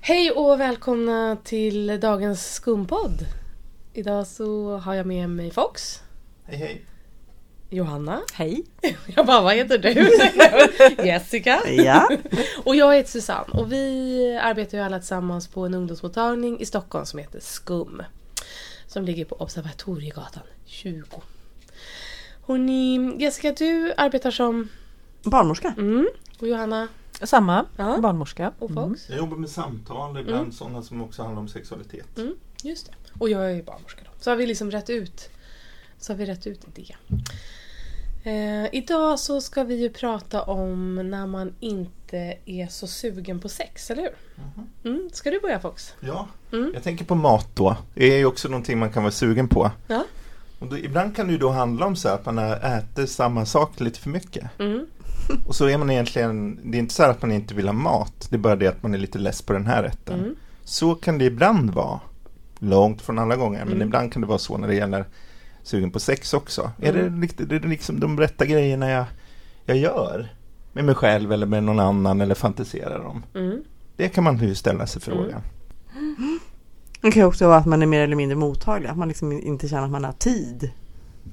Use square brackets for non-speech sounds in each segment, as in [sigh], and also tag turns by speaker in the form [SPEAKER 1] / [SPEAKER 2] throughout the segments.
[SPEAKER 1] Hej och välkomna till dagens skumpodd. Idag så har jag med mig Fox,
[SPEAKER 2] Hej hej.
[SPEAKER 1] Johanna.
[SPEAKER 3] Hej!
[SPEAKER 1] [laughs] Jag bara, vad heter du? [laughs] Jessica.
[SPEAKER 3] Ja.
[SPEAKER 1] Och jag heter Susanne och vi arbetar ju alla tillsammans på en ungdomsmottagning i Stockholm som heter SKUM. Som ligger på Observatoriegatan 20. Hörrni, Jessica du arbetar som...
[SPEAKER 3] Barnmorska.
[SPEAKER 1] Mm, och Johanna
[SPEAKER 3] Samma,
[SPEAKER 1] Ja.
[SPEAKER 3] barnmorska.
[SPEAKER 1] och Fox.
[SPEAKER 3] Mm.
[SPEAKER 2] Jag jobbar med samtal, ibland sådana som också handlar om sexualitet.
[SPEAKER 1] Mm. Just det. Och jag är ju barnmorska då. Så har vi liksom rätt ut, så har vi rätt ut det. Eh, idag så ska vi ju prata om när man inte är så sugen på sex, eller hur?
[SPEAKER 2] Mhm.
[SPEAKER 1] Mm. Ska du börja Fox?
[SPEAKER 2] Ja,
[SPEAKER 1] Mm.
[SPEAKER 2] jag tänker på mat då. Det är ju också någonting man kan vara sugen på.
[SPEAKER 1] Ja.
[SPEAKER 2] Och då, ibland kan det ju då handla om så här att man äter samma sak lite för mycket.
[SPEAKER 1] Mm.
[SPEAKER 2] Och så är man egentligen, det är inte så här att man inte vill ha mat, det är bara det att man är lite less på den här rätten.
[SPEAKER 1] Mm.
[SPEAKER 2] Så kan det ibland vara. Långt från alla gånger, men
[SPEAKER 1] Mm.
[SPEAKER 2] ibland kan det vara så när det gäller sugen på sex också. Är,
[SPEAKER 1] Mm.
[SPEAKER 2] det, likt- är det liksom de rätta grejerna jag, jag gör? Med mig själv eller med någon annan eller fantiserar om?
[SPEAKER 1] Mm.
[SPEAKER 2] Det kan man ju ställa sig frågan.
[SPEAKER 3] Det kan ju också vara att man är mer eller mindre mottaglig, att man liksom inte känner att man har tid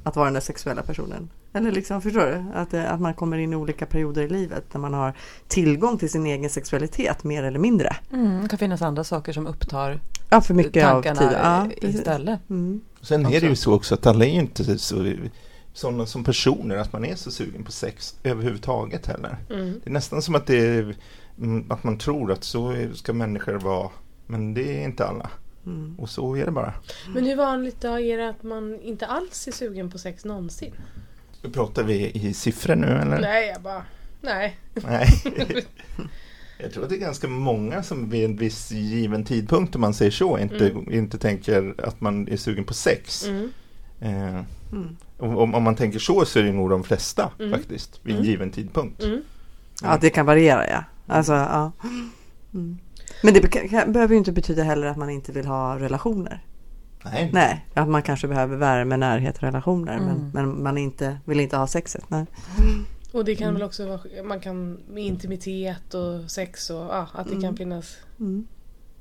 [SPEAKER 3] att vara den där sexuella personen. Eller liksom, förstår du? Att, det- att man kommer in i olika perioder i livet där man har tillgång till sin egen sexualitet mer eller mindre.
[SPEAKER 4] Mm, det kan finnas andra saker som upptar
[SPEAKER 3] Ja, för mycket
[SPEAKER 4] tankarna
[SPEAKER 3] av tiden. Ja,
[SPEAKER 4] i-
[SPEAKER 3] precis.
[SPEAKER 4] istället.
[SPEAKER 3] Mm.
[SPEAKER 2] Sen är det ju
[SPEAKER 4] Absolut.
[SPEAKER 2] så också att alla är ju inte så, sådana som personer att man är så sugen på sex överhuvudtaget heller.
[SPEAKER 1] Mm.
[SPEAKER 2] Det är nästan som att, det är, mm, att man tror att så är- ska människor vara, men det är inte alla.
[SPEAKER 3] Mm.
[SPEAKER 2] Och så är det bara.
[SPEAKER 1] Men hur vanligt då är det att man inte alls är sugen på sex någonsin?
[SPEAKER 2] Nu pratar vi i siffror nu eller?
[SPEAKER 1] Nej, jag bara... Nej.
[SPEAKER 2] Nej. [laughs] Jag tror att det är ganska många som vid en viss given tidpunkt om man säger så inte, inte tänker att man är sugen på sex.
[SPEAKER 1] [laughs] Mm.
[SPEAKER 2] Eh,
[SPEAKER 3] Mm.
[SPEAKER 2] om, om- om man tänker så så är det nog de flesta
[SPEAKER 1] Mm.
[SPEAKER 2] faktiskt vid en
[SPEAKER 1] Mm.
[SPEAKER 2] given tidpunkt.
[SPEAKER 1] Mm.
[SPEAKER 3] Ja, det kan variera ja. Alltså, ja. Mm. Men det be- kan- behöver ju inte betyda heller att man inte vill ha relationer.
[SPEAKER 2] Nej.
[SPEAKER 3] Nej, att man kanske behöver värme, närhet, relationer men,
[SPEAKER 4] Mm.
[SPEAKER 3] men man inte, vill inte ha sexet. Nej.
[SPEAKER 1] Och det kan väl också vara... Man kan... Med intimitet och sex och... Ja, att det kan
[SPEAKER 3] Mm.
[SPEAKER 1] finnas
[SPEAKER 3] Mm.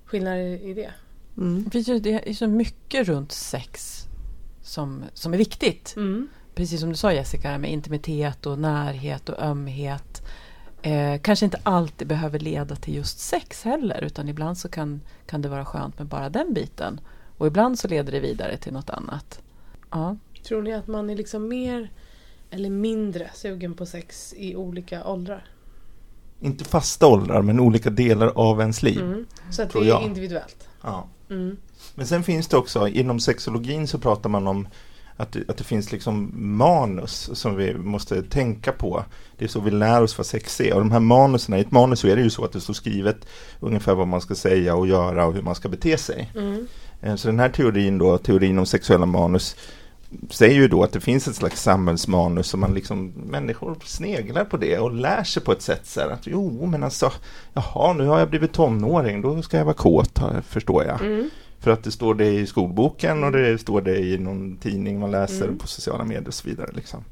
[SPEAKER 1] skillnader i det.
[SPEAKER 3] Mm.
[SPEAKER 4] Det finns ju det är så mycket runt sex som, som är viktigt.
[SPEAKER 1] Mm.
[SPEAKER 4] Precis som du sa Jessica, med intimitet och närhet och ömhet. Eh, kanske inte alltid behöver leda till just sex heller utan ibland så kan, kan det vara skönt med bara den biten. Och ibland så leder det vidare till något annat. Ja.
[SPEAKER 1] Tror ni att man är liksom mer eller mindre sugen på sex i olika åldrar?
[SPEAKER 2] Inte fasta åldrar men olika delar av ens liv.
[SPEAKER 1] Mm. Så att det
[SPEAKER 2] Tror
[SPEAKER 1] är
[SPEAKER 2] jag.
[SPEAKER 1] individuellt?
[SPEAKER 2] Ja.
[SPEAKER 1] Mm.
[SPEAKER 2] Men sen finns det också, inom sexologin så pratar man om att, det- att det finns liksom manus som vi måste tänka på. Det är så vi lär oss vad sex är. Och de här manusen, i ett manus så är det ju så att det står skrivet ungefär vad man ska säga och göra och hur man ska bete sig.
[SPEAKER 1] Mm.
[SPEAKER 2] Eh, Så den här teorin då, teorin om sexuella manus, säger ju då att det finns ett slags samhällsmanus som man liksom, människor sneglar på det och lär sig på ett sätt så här att jo men alltså, jaha nu har jag blivit tonåring, då ska jag vara kåt har- förstår jag.
[SPEAKER 1] Mm.
[SPEAKER 2] För att det står det i skolboken och det står det i någon tidning man läser
[SPEAKER 1] Mm.
[SPEAKER 2] på sociala medier och så vidare. Liksom.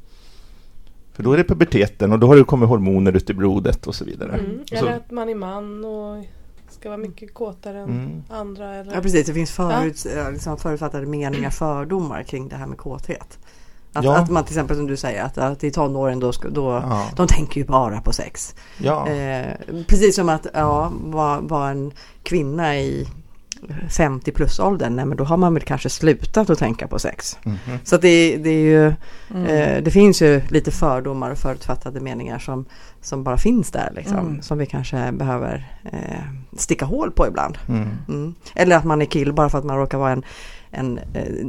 [SPEAKER 2] För då är det puberteten och då har det kommit hormoner ut i blodet och så vidare.
[SPEAKER 1] Mm.
[SPEAKER 2] Och så,
[SPEAKER 1] Eller att man är man och ska vara mycket kåtare än
[SPEAKER 2] Mm.
[SPEAKER 1] andra. Eller?
[SPEAKER 3] Ja precis, det finns förut, eh, liksom förutfattade meningar, fördomar kring det här med kåthet. Att,
[SPEAKER 2] Ja.
[SPEAKER 3] att man till exempel som du säger att, att i tonåren då, ska- då
[SPEAKER 2] Mm. ja,
[SPEAKER 3] de tänker ju bara på sex.
[SPEAKER 2] ja.
[SPEAKER 3] Eh, precis som att ja, vara var en kvinna i 50 plus åldern, nej men då har man väl kanske slutat att tänka på sex.
[SPEAKER 2] Mhm.
[SPEAKER 3] Så att det, det är ju
[SPEAKER 4] Mm.
[SPEAKER 3] Eh, Det finns ju lite fördomar och förutfattade meningar som, som bara finns där liksom.
[SPEAKER 4] Mm.
[SPEAKER 3] Som vi kanske behöver eh, sticka hål på ibland.
[SPEAKER 2] Mm.
[SPEAKER 3] Mm. Eller att man är kill bara för att man råkar vara en, en eh,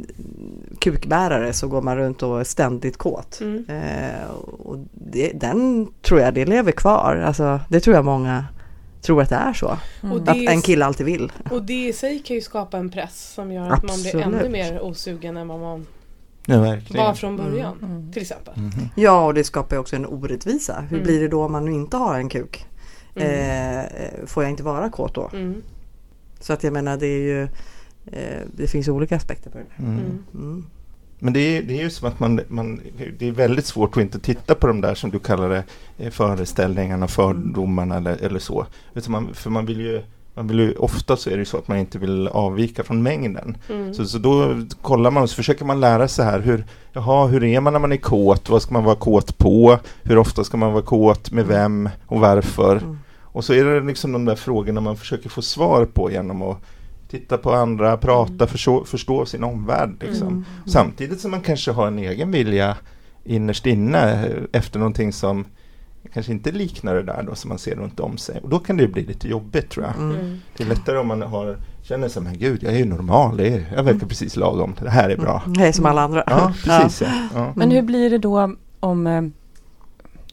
[SPEAKER 3] kukbärare så går man runt och är ständigt kåt.
[SPEAKER 1] Mm.
[SPEAKER 3] Eh, och det, den tror jag, det lever kvar. Alltså, det tror jag många tror att det är så.
[SPEAKER 1] Och,
[SPEAKER 3] Att
[SPEAKER 1] det,
[SPEAKER 3] en kille alltid vill.
[SPEAKER 1] och det i sig kan ju skapa en press som gör att man blir
[SPEAKER 3] Absolut.
[SPEAKER 1] ännu mer osugen än vad man
[SPEAKER 2] Ja,
[SPEAKER 1] var
[SPEAKER 2] verkligen.
[SPEAKER 1] från början.
[SPEAKER 4] Mm.
[SPEAKER 1] Till exempel.
[SPEAKER 2] Mhm.
[SPEAKER 3] Ja, och det skapar ju också en orättvisa. Hur
[SPEAKER 1] Mm.
[SPEAKER 3] blir det då om man inte har en kuk?
[SPEAKER 1] Mm.
[SPEAKER 3] Eh, eh, får jag inte vara kåt då?
[SPEAKER 1] Mm.
[SPEAKER 3] Så att jag menar det är ju eh, Det finns ju olika aspekter på det där.
[SPEAKER 2] Mm.
[SPEAKER 1] Mm.
[SPEAKER 3] Mm.
[SPEAKER 2] Men det är, det är ju som att man, man, det är väldigt svårt att inte titta på de där som du kallar det, eh, föreställningarna, fördomarna eller, eller så. Utan man, för man vill ju Man vill ju, ofta så är det ju så att man inte vill avvika från mängden.
[SPEAKER 1] Mm.
[SPEAKER 2] Så, så då kollar man och så försöker man lära sig här hur, jaha, hur är man när man är kåt? Vad ska man vara kåt på? Hur ofta ska man vara kåt? Med vem? Och varför?
[SPEAKER 3] Mm.
[SPEAKER 2] Och så är det liksom de där frågorna man försöker få svar på genom att titta på andra, prata,
[SPEAKER 4] Mm.
[SPEAKER 2] förstå, förstå sin omvärld. Liksom.
[SPEAKER 3] Mm.
[SPEAKER 2] Samtidigt som man kanske har en egen vilja innerst inne eh, efter någonting som kanske inte liknar det där då som man ser runt om sig. Och då kan det ju bli lite jobbigt tror jag.
[SPEAKER 3] Mm.
[SPEAKER 1] Mm.
[SPEAKER 2] Det är lättare om man har, känner sig, men gud, jag är ju normal, det är, jag verkar precis lagom, det här är bra.
[SPEAKER 3] Mm. Hej som alla andra.
[SPEAKER 2] Ja, precis ja. Ja.
[SPEAKER 4] Men hur blir det då om, eh,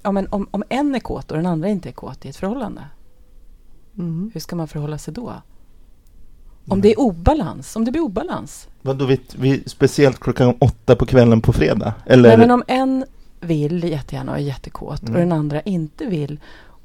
[SPEAKER 4] ja, men om, om en är kåt och den andra inte är kåt i ett förhållande?
[SPEAKER 3] Mm.
[SPEAKER 4] Hur ska man förhålla sig då?
[SPEAKER 2] Mm.
[SPEAKER 4] Om det är obalans, om det blir obalans?
[SPEAKER 2] Vadå, vi, vi, speciellt klockan åtta på kvällen på fredag? Eller?
[SPEAKER 4] Nej, men om en vill jättegärna och är jättekåt
[SPEAKER 2] Mm.
[SPEAKER 4] och den andra inte vill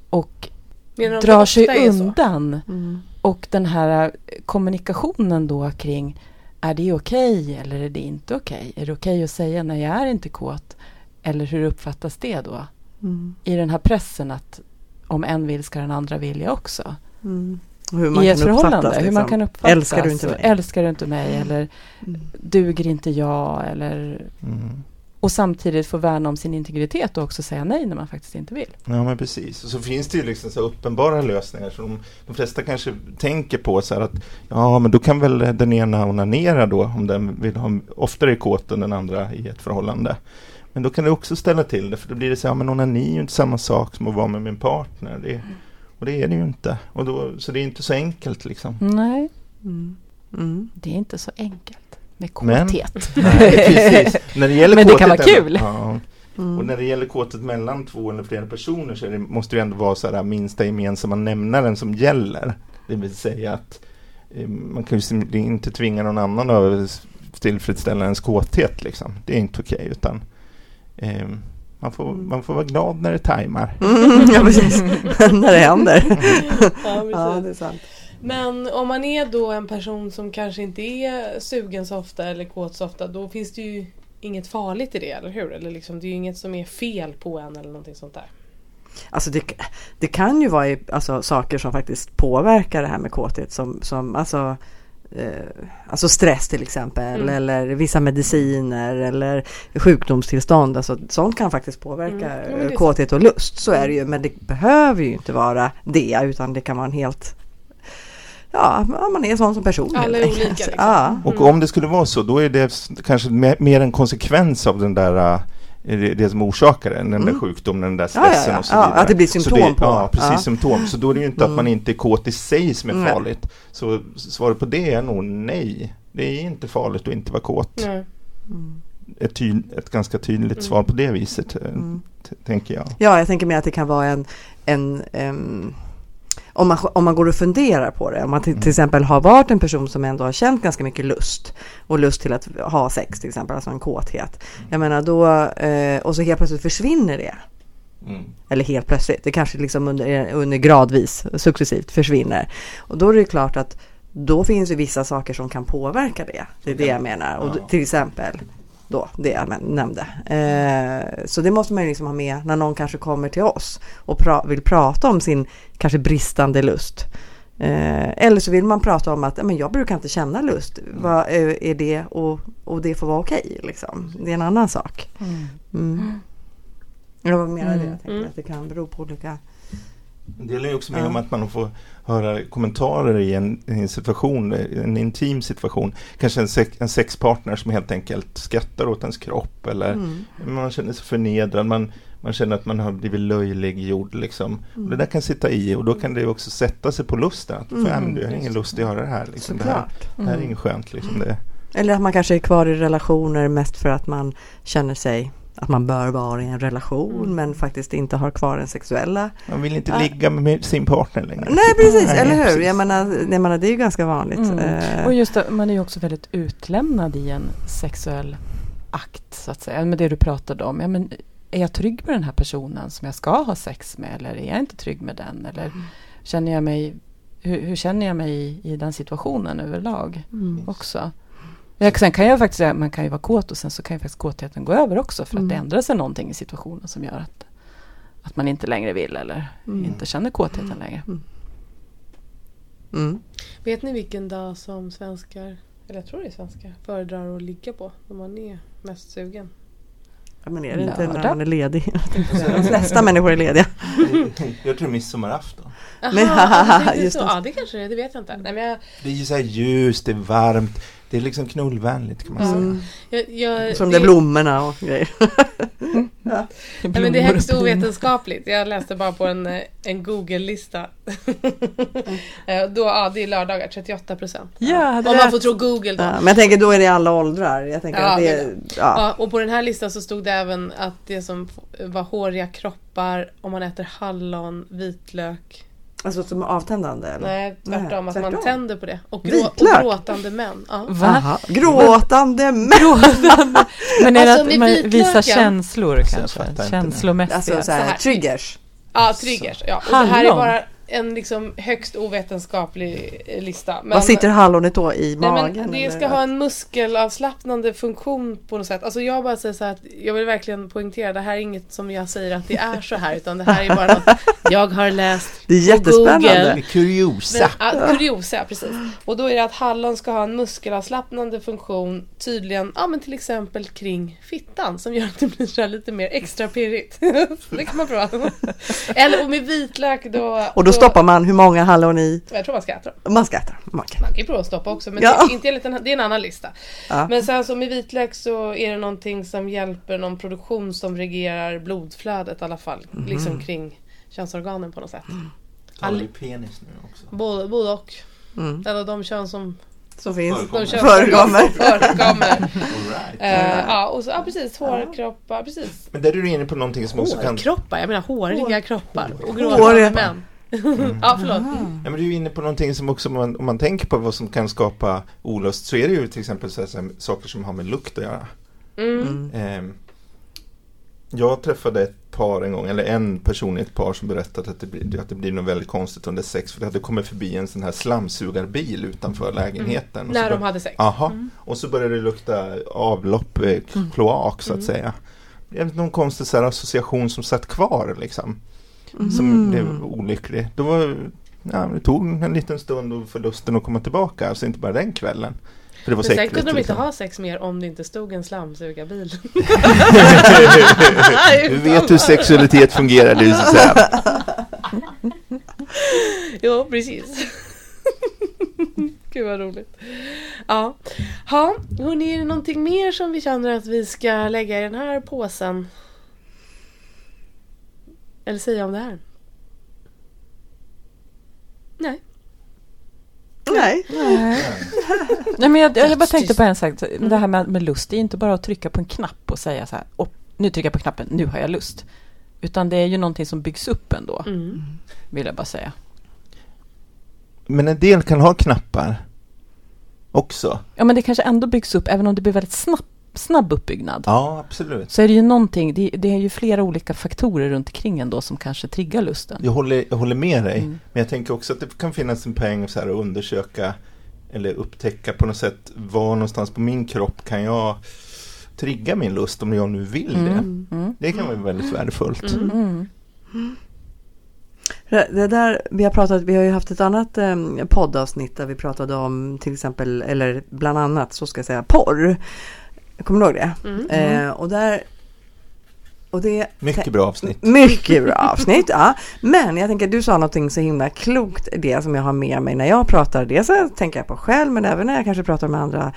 [SPEAKER 4] och
[SPEAKER 1] Menar du att det
[SPEAKER 4] drar
[SPEAKER 1] ofta
[SPEAKER 4] sig
[SPEAKER 1] är så?
[SPEAKER 4] undan.
[SPEAKER 3] Mm.
[SPEAKER 4] Och den här eh, kommunikationen då kring är det okej eller är det inte okej? Är det okej att säga när jag är inte kåt? Eller hur uppfattas det då?
[SPEAKER 3] Mm.
[SPEAKER 4] I den här pressen att om en vill ska den andra vilja också.
[SPEAKER 3] Mm. Och Hur
[SPEAKER 4] I ett förhållande, hur man
[SPEAKER 3] liksom.
[SPEAKER 4] kan uppfattas.
[SPEAKER 3] Älskar du inte
[SPEAKER 4] och
[SPEAKER 3] mig?
[SPEAKER 4] Älskar du inte mig?
[SPEAKER 3] Mm.
[SPEAKER 4] Eller
[SPEAKER 3] Mm.
[SPEAKER 4] duger inte jag? Eller,
[SPEAKER 2] Mm.
[SPEAKER 4] och samtidigt få värna om sin integritet och också säga nej när man faktiskt inte vill.
[SPEAKER 2] Ja men precis, och så finns det ju liksom så här uppenbara lösningar som de, de flesta kanske tänker på så här att ja men då kan väl den ena onanera då om den vill ha oftare kåt än den andra i ett förhållande. Men då kan det också ställa till det för då blir det så här, ja, men onani är ju inte samma sak som att vara med min partner. Det, och det är det ju inte. Och då, så det är inte så enkelt liksom.
[SPEAKER 4] Nej,
[SPEAKER 3] Mm. Mm.
[SPEAKER 4] det är inte så enkelt med
[SPEAKER 2] Men-
[SPEAKER 4] kåthet. [laughs]
[SPEAKER 2] Nej, precis. När det gäller
[SPEAKER 4] Men det kan vara
[SPEAKER 2] kåthet
[SPEAKER 4] kul.
[SPEAKER 2] Ja,
[SPEAKER 3] Mm.
[SPEAKER 2] Och när det gäller kåtet mellan två eller flera personer så är det, måste det ändå vara så här äh, minsta gemensamma nämnaren som gäller. Det vill säga att eh, man kan ju sim- inte tvinga någon annan att tillfredsställa ens kåthet liksom. Det är inte okej utan eh, man, får, man får vara glad när det tajmar.
[SPEAKER 3] Mm, [laughs] ja, precis. När
[SPEAKER 2] [laughs]
[SPEAKER 3] det händer.
[SPEAKER 1] Ja, precis.
[SPEAKER 3] Ja, det är sant.
[SPEAKER 1] Men om man är då en person som kanske inte är sugen så ofta eller kåt så ofta då finns det ju inget farligt i det, eller hur? Eller liksom, det är ju inget som är fel på en eller någonting sånt där.
[SPEAKER 3] Alltså det, det kan ju vara i, alltså, saker som faktiskt påverkar det här med kåthet som, som alltså, eh, alltså stress till exempel
[SPEAKER 1] Mm.
[SPEAKER 3] eller vissa mediciner eller sjukdomstillstånd. Alltså, sånt kan faktiskt påverka
[SPEAKER 1] Mm. Ja, men det är Mm.
[SPEAKER 3] kåthet och lust. Så är det ju men det behöver ju inte vara det utan det kan vara en helt Ja, man är sån som person.
[SPEAKER 1] Alla är
[SPEAKER 3] helt
[SPEAKER 1] olika,
[SPEAKER 3] enkelt.
[SPEAKER 1] liksom.
[SPEAKER 3] Ja.
[SPEAKER 2] Och om det skulle vara så, då är det s- kanske me- mer en konsekvens av den där eh, det det som orsakar den, den där
[SPEAKER 3] Mm.
[SPEAKER 2] sjukdomen, den där
[SPEAKER 3] Ja, ja,
[SPEAKER 2] stressen
[SPEAKER 3] ja.
[SPEAKER 2] och så
[SPEAKER 3] Ja,
[SPEAKER 2] vidare.
[SPEAKER 3] att det blir
[SPEAKER 2] Så
[SPEAKER 3] symptom på.
[SPEAKER 2] Ja, precis,
[SPEAKER 3] Ja. Mm.
[SPEAKER 2] symptom. Så då är det ju inte att man inte är kåt i sig som är
[SPEAKER 3] Nej.
[SPEAKER 2] farligt. Så svaret på det är nog nej. Det är inte farligt att inte vara kåt.
[SPEAKER 1] Nej.
[SPEAKER 3] Mm.
[SPEAKER 2] Ett, ty- ett ganska tydligt
[SPEAKER 1] Mm.
[SPEAKER 2] svar på det viset, eh,
[SPEAKER 3] Mm.
[SPEAKER 2] t- tänker jag.
[SPEAKER 3] Ja, jag tänker mig att det kan vara en, en ehm, om, man, om man går och funderar på det. Om man till, till exempel har varit en person som ändå har känt ganska mycket lust och lust till att ha sex till exempel, alltså en kåthet. Jag menar då, eh, och så helt plötsligt försvinner det. Eller helt plötsligt, det kanske liksom under, under gradvis, successivt försvinner. Och då är det ju klart att då finns ju vissa saker som kan påverka det. Det är det jag menar. Och d-
[SPEAKER 2] Ja.
[SPEAKER 3] till exempel då, det jag men- nämnde. Eh, så det måste man ju liksom ha med när någon kanske kommer till oss och pra- vill prata om sin kanske bristande lust. Eh, eller så vill man prata om att "Ja, men jag brukar inte känna lust. Vad eh, är det och, och det får vara okej liksom. Det är en annan sak. Mm. Jag var mer det jag tänkte
[SPEAKER 1] Mm.
[SPEAKER 3] att det kan bero på olika.
[SPEAKER 2] Det gäller ju också med
[SPEAKER 3] Ja.
[SPEAKER 2] om att man får höra kommentarer i en, i en situation, en intim situation. Kanske en, sex, en sexpartner som helt enkelt skrattar åt ens kropp eller
[SPEAKER 3] Mm.
[SPEAKER 2] man känner sig förnedrad, man, man känner att man har blivit löjliggjord liksom. Och det där kan sitta i och då kan det ju också sätta sig på lusten. Att,
[SPEAKER 3] Mm,
[SPEAKER 2] fan, du har ingen lust att göra det här. Liksom. Det, här
[SPEAKER 3] Såklart. Mm.
[SPEAKER 2] det här är inget skönt liksom. Det,
[SPEAKER 3] Eller att man kanske är kvar i relationer mest för att man känner sig att man bör vara i en relation
[SPEAKER 1] Mm.
[SPEAKER 3] men faktiskt inte har kvar den sexuella.
[SPEAKER 2] man vill inte
[SPEAKER 3] Ja.
[SPEAKER 2] ligga med sin partner längre.
[SPEAKER 3] Nej precis,
[SPEAKER 2] Nej,
[SPEAKER 3] eller hur?
[SPEAKER 2] precis.
[SPEAKER 3] Jag, menar, jag menar det är ju ganska vanligt.
[SPEAKER 4] Mm.
[SPEAKER 3] Eh,
[SPEAKER 4] Och just det, man är ju också väldigt utlämnad i en sexuell akt så att säga. Men det du pratade om, ja, men är jag trygg med den här personen som jag ska ha sex med eller är jag inte trygg med den? Eller
[SPEAKER 3] Mm.
[SPEAKER 4] känner jag mig, hur, hur känner jag mig i, i den situationen överlag
[SPEAKER 3] mm.
[SPEAKER 4] också? Jag, sen kan jag faktiskt säga, man kan ju vara kåt och sen så kan ju faktiskt kåtheten gå över också för att det
[SPEAKER 3] Mm.
[SPEAKER 4] ändrar sig någonting i situationen som gör att, att man inte längre vill eller
[SPEAKER 3] Mm.
[SPEAKER 4] inte känner kåtheten längre.
[SPEAKER 3] Mm.
[SPEAKER 1] Vet ni vilken dag som svenskar, eller jag tror det är svenskar, föredrar att ligga på när man är mest sugen?
[SPEAKER 3] Ja, men är det inte när
[SPEAKER 4] Lördag.
[SPEAKER 3] man är ledig? [laughs] Jag tänkte säga, De flesta människor är lediga.
[SPEAKER 2] Jag tror midsommarafton.
[SPEAKER 1] Aha,
[SPEAKER 3] Nej,
[SPEAKER 1] alltså, [laughs] det är
[SPEAKER 3] just
[SPEAKER 1] så.
[SPEAKER 3] det.
[SPEAKER 1] Ja, det kanske det är, det vet jag inte. Nej, men jag,
[SPEAKER 2] Det är ju så här ljust, det är varmt, det är liksom knullvänligt kan man
[SPEAKER 1] Ja.
[SPEAKER 2] säga.
[SPEAKER 3] Mm.
[SPEAKER 1] jag, jag,
[SPEAKER 3] Som det är blommorna och grejer.
[SPEAKER 1] Nej, men det är
[SPEAKER 4] Blommor och
[SPEAKER 1] högst
[SPEAKER 3] [laughs]
[SPEAKER 4] blommor.
[SPEAKER 1] ovetenskapligt. Jag läste bara på en, eh, en Google-lista. [laughs] Eh, Då, ja, det är lördagar, 38 procent.
[SPEAKER 4] Ja, det
[SPEAKER 1] Om man
[SPEAKER 4] där-
[SPEAKER 1] får tro Google då.
[SPEAKER 3] Ja, men jag tänker då är det alla åldrar. Jag tänker
[SPEAKER 1] Ja,
[SPEAKER 3] att det är, ja.
[SPEAKER 1] Ja, och på den här listan så stod det även att det som f- var håriga kroppar, om man äter hallon, vitlök.
[SPEAKER 3] Alltså som avtändande eller?
[SPEAKER 1] Nej, tvärtom.
[SPEAKER 3] Nej,
[SPEAKER 1] att man
[SPEAKER 3] tvärtom.
[SPEAKER 1] tänder på det. Och, grå, och
[SPEAKER 3] Vitlök?
[SPEAKER 1] gråtande män. Ja.
[SPEAKER 4] Va?
[SPEAKER 3] Aha. Gråtande män!
[SPEAKER 4] Gråtande. Men är det
[SPEAKER 1] Alltså,
[SPEAKER 4] att
[SPEAKER 1] med
[SPEAKER 4] man
[SPEAKER 1] vitlöken.
[SPEAKER 4] visar känslor
[SPEAKER 2] jag fattar inte
[SPEAKER 4] kanske?
[SPEAKER 2] det.
[SPEAKER 4] Känslomässiga.
[SPEAKER 3] Alltså så här,
[SPEAKER 1] här.
[SPEAKER 3] triggers.
[SPEAKER 1] Ja, triggers. Ja. Och det här är
[SPEAKER 4] Hallon.
[SPEAKER 1] bara en liksom högst ovetenskaplig eh, lista. Men,
[SPEAKER 3] Vad sitter hallonet då i
[SPEAKER 1] Nej,
[SPEAKER 3] magen?
[SPEAKER 1] men det
[SPEAKER 3] eller?
[SPEAKER 1] ska ha en muskelavslappnande funktion på något sätt. Alltså jag bara säger så här att jag vill verkligen poängtera det här är inget som jag säger att det är så här utan det här är bara något
[SPEAKER 3] [laughs]
[SPEAKER 1] jag har läst.
[SPEAKER 3] Det är jättespännande.
[SPEAKER 1] Google.
[SPEAKER 2] Det är kuriosa.
[SPEAKER 1] Men, ja, kuriosa, precis. Och då är det att hallon ska ha en muskelavslappnande funktion tydligen, ja men till exempel kring fittan som gör att det blir så här lite mer extra pirrigt. [laughs] det kan man prova. Eller och med vitlök då.
[SPEAKER 3] Och då stoppar man hur många hallon i?
[SPEAKER 1] Jag tror man ska äta dem.
[SPEAKER 3] Man ska äta dem. man kan.
[SPEAKER 1] Man kan ju prova att stoppa också men
[SPEAKER 3] Ja.
[SPEAKER 1] det, inte enligt den här, det är en annan lista.
[SPEAKER 3] Ja.
[SPEAKER 1] Men sen som i vitlök så är det någonting som hjälper någon produktion som reglerar blodflödet i alla fall.
[SPEAKER 3] Mhm.
[SPEAKER 1] Liksom kring könsorganen på något sätt.
[SPEAKER 2] Tar du penis nu också?
[SPEAKER 1] Både, både och.
[SPEAKER 3] Mm.
[SPEAKER 1] Eller de kön som
[SPEAKER 3] Så finns.
[SPEAKER 2] Förekommer.
[SPEAKER 1] de kön
[SPEAKER 3] Förekommer.
[SPEAKER 1] som förekommer.
[SPEAKER 2] [laughs] All right.
[SPEAKER 1] Eh, ja, och så, ja, precis. Hårkroppar. Precis.
[SPEAKER 2] Men där är du inne på någonting som också kan...
[SPEAKER 1] Hårkroppar? Jag menar håriga kroppar. Och
[SPEAKER 3] Håriga.
[SPEAKER 1] gråhåriga män.
[SPEAKER 2] Mm.
[SPEAKER 1] ja, förlåt.
[SPEAKER 2] Ja, men du är ju inne på någonting som också, om man, om man tänker på vad som kan skapa olust, så är det ju till exempel så här, så här, saker som har med lukt att göra.
[SPEAKER 1] Mm.
[SPEAKER 3] Mm.
[SPEAKER 2] Ehm, jag träffade ett par en gång, eller en person i ett par som berättade att det, blir- att det blir något väldigt konstigt under sex, för det hade kommit förbi en sån här slamsugarbil utanför lägenheten. Och så
[SPEAKER 1] Mm. När
[SPEAKER 2] bör-
[SPEAKER 1] de hade sex.
[SPEAKER 2] Aha. och så började det lukta avlopp, eh, k-
[SPEAKER 1] Mm.
[SPEAKER 2] kloak så att säga. Det är någon konstig så här association som satt kvar liksom.
[SPEAKER 1] Mm.
[SPEAKER 2] Som blev olycklig. Då var, ja, det tog en liten stund och för lusten att komma tillbaka, alltså inte bara den kvällen. För det var
[SPEAKER 1] Men
[SPEAKER 2] så
[SPEAKER 1] sen
[SPEAKER 2] äckligt,
[SPEAKER 1] kunde de inte
[SPEAKER 2] liksom.
[SPEAKER 1] ha sex mer om det inte stod en slamsugarbil.
[SPEAKER 2] [laughs]
[SPEAKER 1] [laughs]
[SPEAKER 2] Du vet hur
[SPEAKER 1] [laughs]
[SPEAKER 2] sexualitet fungerar du Susanne.
[SPEAKER 1] Jo, precis. Gud vad roligt. Ja, ha, hörni, är det någonting mer som vi känner att vi ska lägga i den här påsen? Eller säga om det här? Nej. Mm.
[SPEAKER 3] Nej.
[SPEAKER 4] Nej, men jag, jag, jag bara tänkte på en sak. Det här med, med lust, det är inte bara att trycka på en knapp och säga så här, "Åh, nu trycker jag på knappen, nu har jag lust. Utan det är ju någonting som byggs upp ändå,
[SPEAKER 1] Mm.
[SPEAKER 4] vill jag bara säga.
[SPEAKER 2] Men en del kan ha knappar också.
[SPEAKER 4] Ja, men det kanske ändå byggs upp, även om det blir väldigt snabb, snabb uppbyggnad.
[SPEAKER 2] Ja, absolut.
[SPEAKER 4] Så är det ju någonting, det, det är ju flera olika faktorer runt omkring ändå som kanske triggar lusten.
[SPEAKER 2] Jag håller, jag håller med dig.
[SPEAKER 4] Mm.
[SPEAKER 2] Men jag tänker också att det kan finnas en poäng så här, att undersöka eller upptäcka på något sätt var någonstans på min kropp kan jag trigga min lust om jag nu vill det.
[SPEAKER 4] Mm. Mm.
[SPEAKER 2] Det kan vara väldigt värdefullt.
[SPEAKER 1] Mm.
[SPEAKER 4] Mm.
[SPEAKER 3] Det det där vi har pratat, vi har ju haft ett annat eh, poddavsnitt där vi pratade om till exempel, eller bland annat så ska jag säga porr. Kommer du ihåg det?
[SPEAKER 1] Mm.
[SPEAKER 3] Eh, och där och det
[SPEAKER 2] Mycket bra avsnitt.
[SPEAKER 3] Mycket bra avsnitt, ja. Men jag tänker du sa någonting så himla klokt, i det som jag har med mig när jag pratar. Det så tänker jag på själv, men även när jag kanske pratar med andra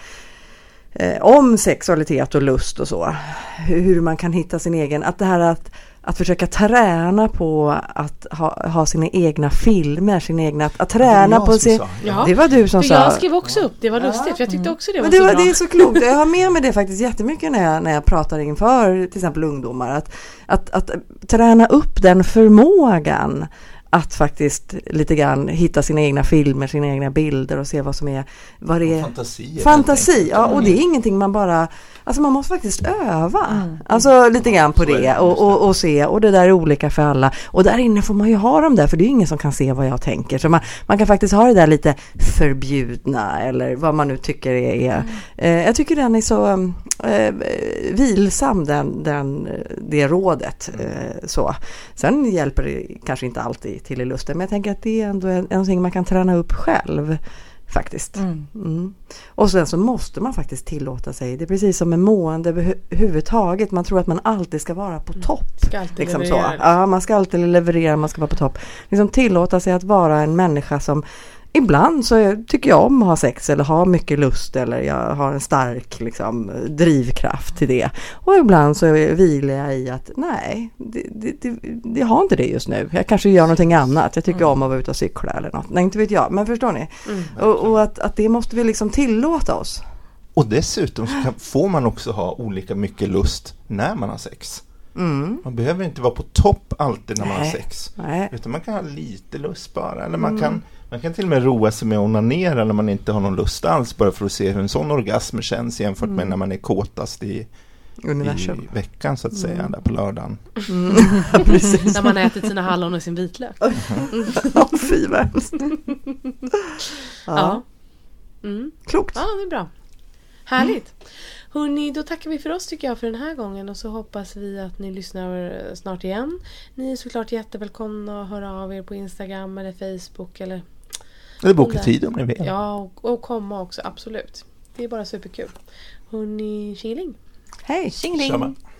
[SPEAKER 3] eh, om sexualitet och lust och så. Hur hur man kan hitta sin egen, att det här att, att försöka träna på att ha, ha sina egna filmer, sin egna, att, att
[SPEAKER 2] Det var
[SPEAKER 3] träna
[SPEAKER 2] jag
[SPEAKER 3] på
[SPEAKER 2] som
[SPEAKER 3] sin...
[SPEAKER 2] sa.
[SPEAKER 1] Ja.
[SPEAKER 3] Det var du som
[SPEAKER 1] För
[SPEAKER 3] sa.
[SPEAKER 1] jag skrev också upp, det var lustigt, för jag tyckte också det var
[SPEAKER 3] Men det,
[SPEAKER 1] så
[SPEAKER 3] var,
[SPEAKER 1] bra.
[SPEAKER 3] det är så klokt. Jag har med mig det faktiskt jättemycket när jag, när jag pratar inför till exempel ungdomar. Att, att, att träna upp den förmågan att faktiskt lite grann hitta sina egna filmer, sina egna bilder och se vad som är, vad det är.
[SPEAKER 2] Fantasier.
[SPEAKER 3] Fantasi, ja och det är ingenting man bara, alltså man måste faktiskt öva. Alltså lite grann
[SPEAKER 2] Så
[SPEAKER 3] på
[SPEAKER 2] är det,
[SPEAKER 3] det
[SPEAKER 2] just
[SPEAKER 3] och, och, och se och det där är olika för alla. Och där inne får man ju ha dem där för det är ju ingen som kan se vad jag tänker. Så man, man kan faktiskt ha det där lite förbjudna eller vad man nu tycker är. är. Eh, jag tycker den är så mm, eh, vilsam den, den, det rådet. Eh, så. Sen hjälper det kanske inte alltid till, till i lusten. Men jag tänker att det är ändå en, någonting man kan träna upp själv. Faktiskt.
[SPEAKER 4] Mm.
[SPEAKER 3] Mm. Och sen så måste man faktiskt tillåta sig. Det är precis som med mående överhuvudtaget. Man tror att man alltid ska vara på topp.
[SPEAKER 1] Ska alltid
[SPEAKER 3] Liksom så.
[SPEAKER 1] leverera.
[SPEAKER 3] Ja, man ska alltid leverera, man ska vara på topp. Liksom tillåta sig att vara en människa som Ibland så är- tycker jag om att ha sex eller ha mycket lust eller jag har en stark liksom, drivkraft till det. Och ibland så vilar jag i att nej, det, det, det, jag har inte det just nu. Jag kanske gör någonting annat. Jag tycker om att vara ute och cykla eller något. Nej, inte vet jag. Men förstår ni? Och, och att, att det måste vi liksom tillåta oss.
[SPEAKER 2] Och dessutom så kan, får man också ha olika mycket lust när man har sex.
[SPEAKER 3] Mm.
[SPEAKER 2] Man behöver inte vara på topp alltid när man
[SPEAKER 3] Nej.
[SPEAKER 2] har sex.
[SPEAKER 3] Nej.
[SPEAKER 2] Utan man kan ha lite lust bara. Eller man, kan, man kan till och med roa sig med att onanera när man inte har någon lust alls. Bara för att se hur en sån orgasm känns jämfört med när man är kåtast i, i
[SPEAKER 3] Universum.
[SPEAKER 2] veckan så att säga. Där på lördagen.
[SPEAKER 3] Precis.
[SPEAKER 1] När man har ätit sina hallon och sin vitlök. Ja.
[SPEAKER 3] Åh, Fy
[SPEAKER 1] [laughs]
[SPEAKER 3] vad hemskt.
[SPEAKER 1] Ja.
[SPEAKER 3] ja.
[SPEAKER 1] Mm.
[SPEAKER 3] Klokt.
[SPEAKER 1] ja, det är bra. Härligt. Hörni, då tackar vi för oss tycker jag för den här gången och så hoppas vi att ni lyssnar eh, snart igen. Ni är såklart jättevälkomna att höra av er på Instagram eller Facebook eller
[SPEAKER 2] Eller boka tid om ni vill.
[SPEAKER 1] ja, och, och komma också, absolut. Det är bara superkul. Hörni, tjingeling!
[SPEAKER 3] Hej.
[SPEAKER 2] Samma.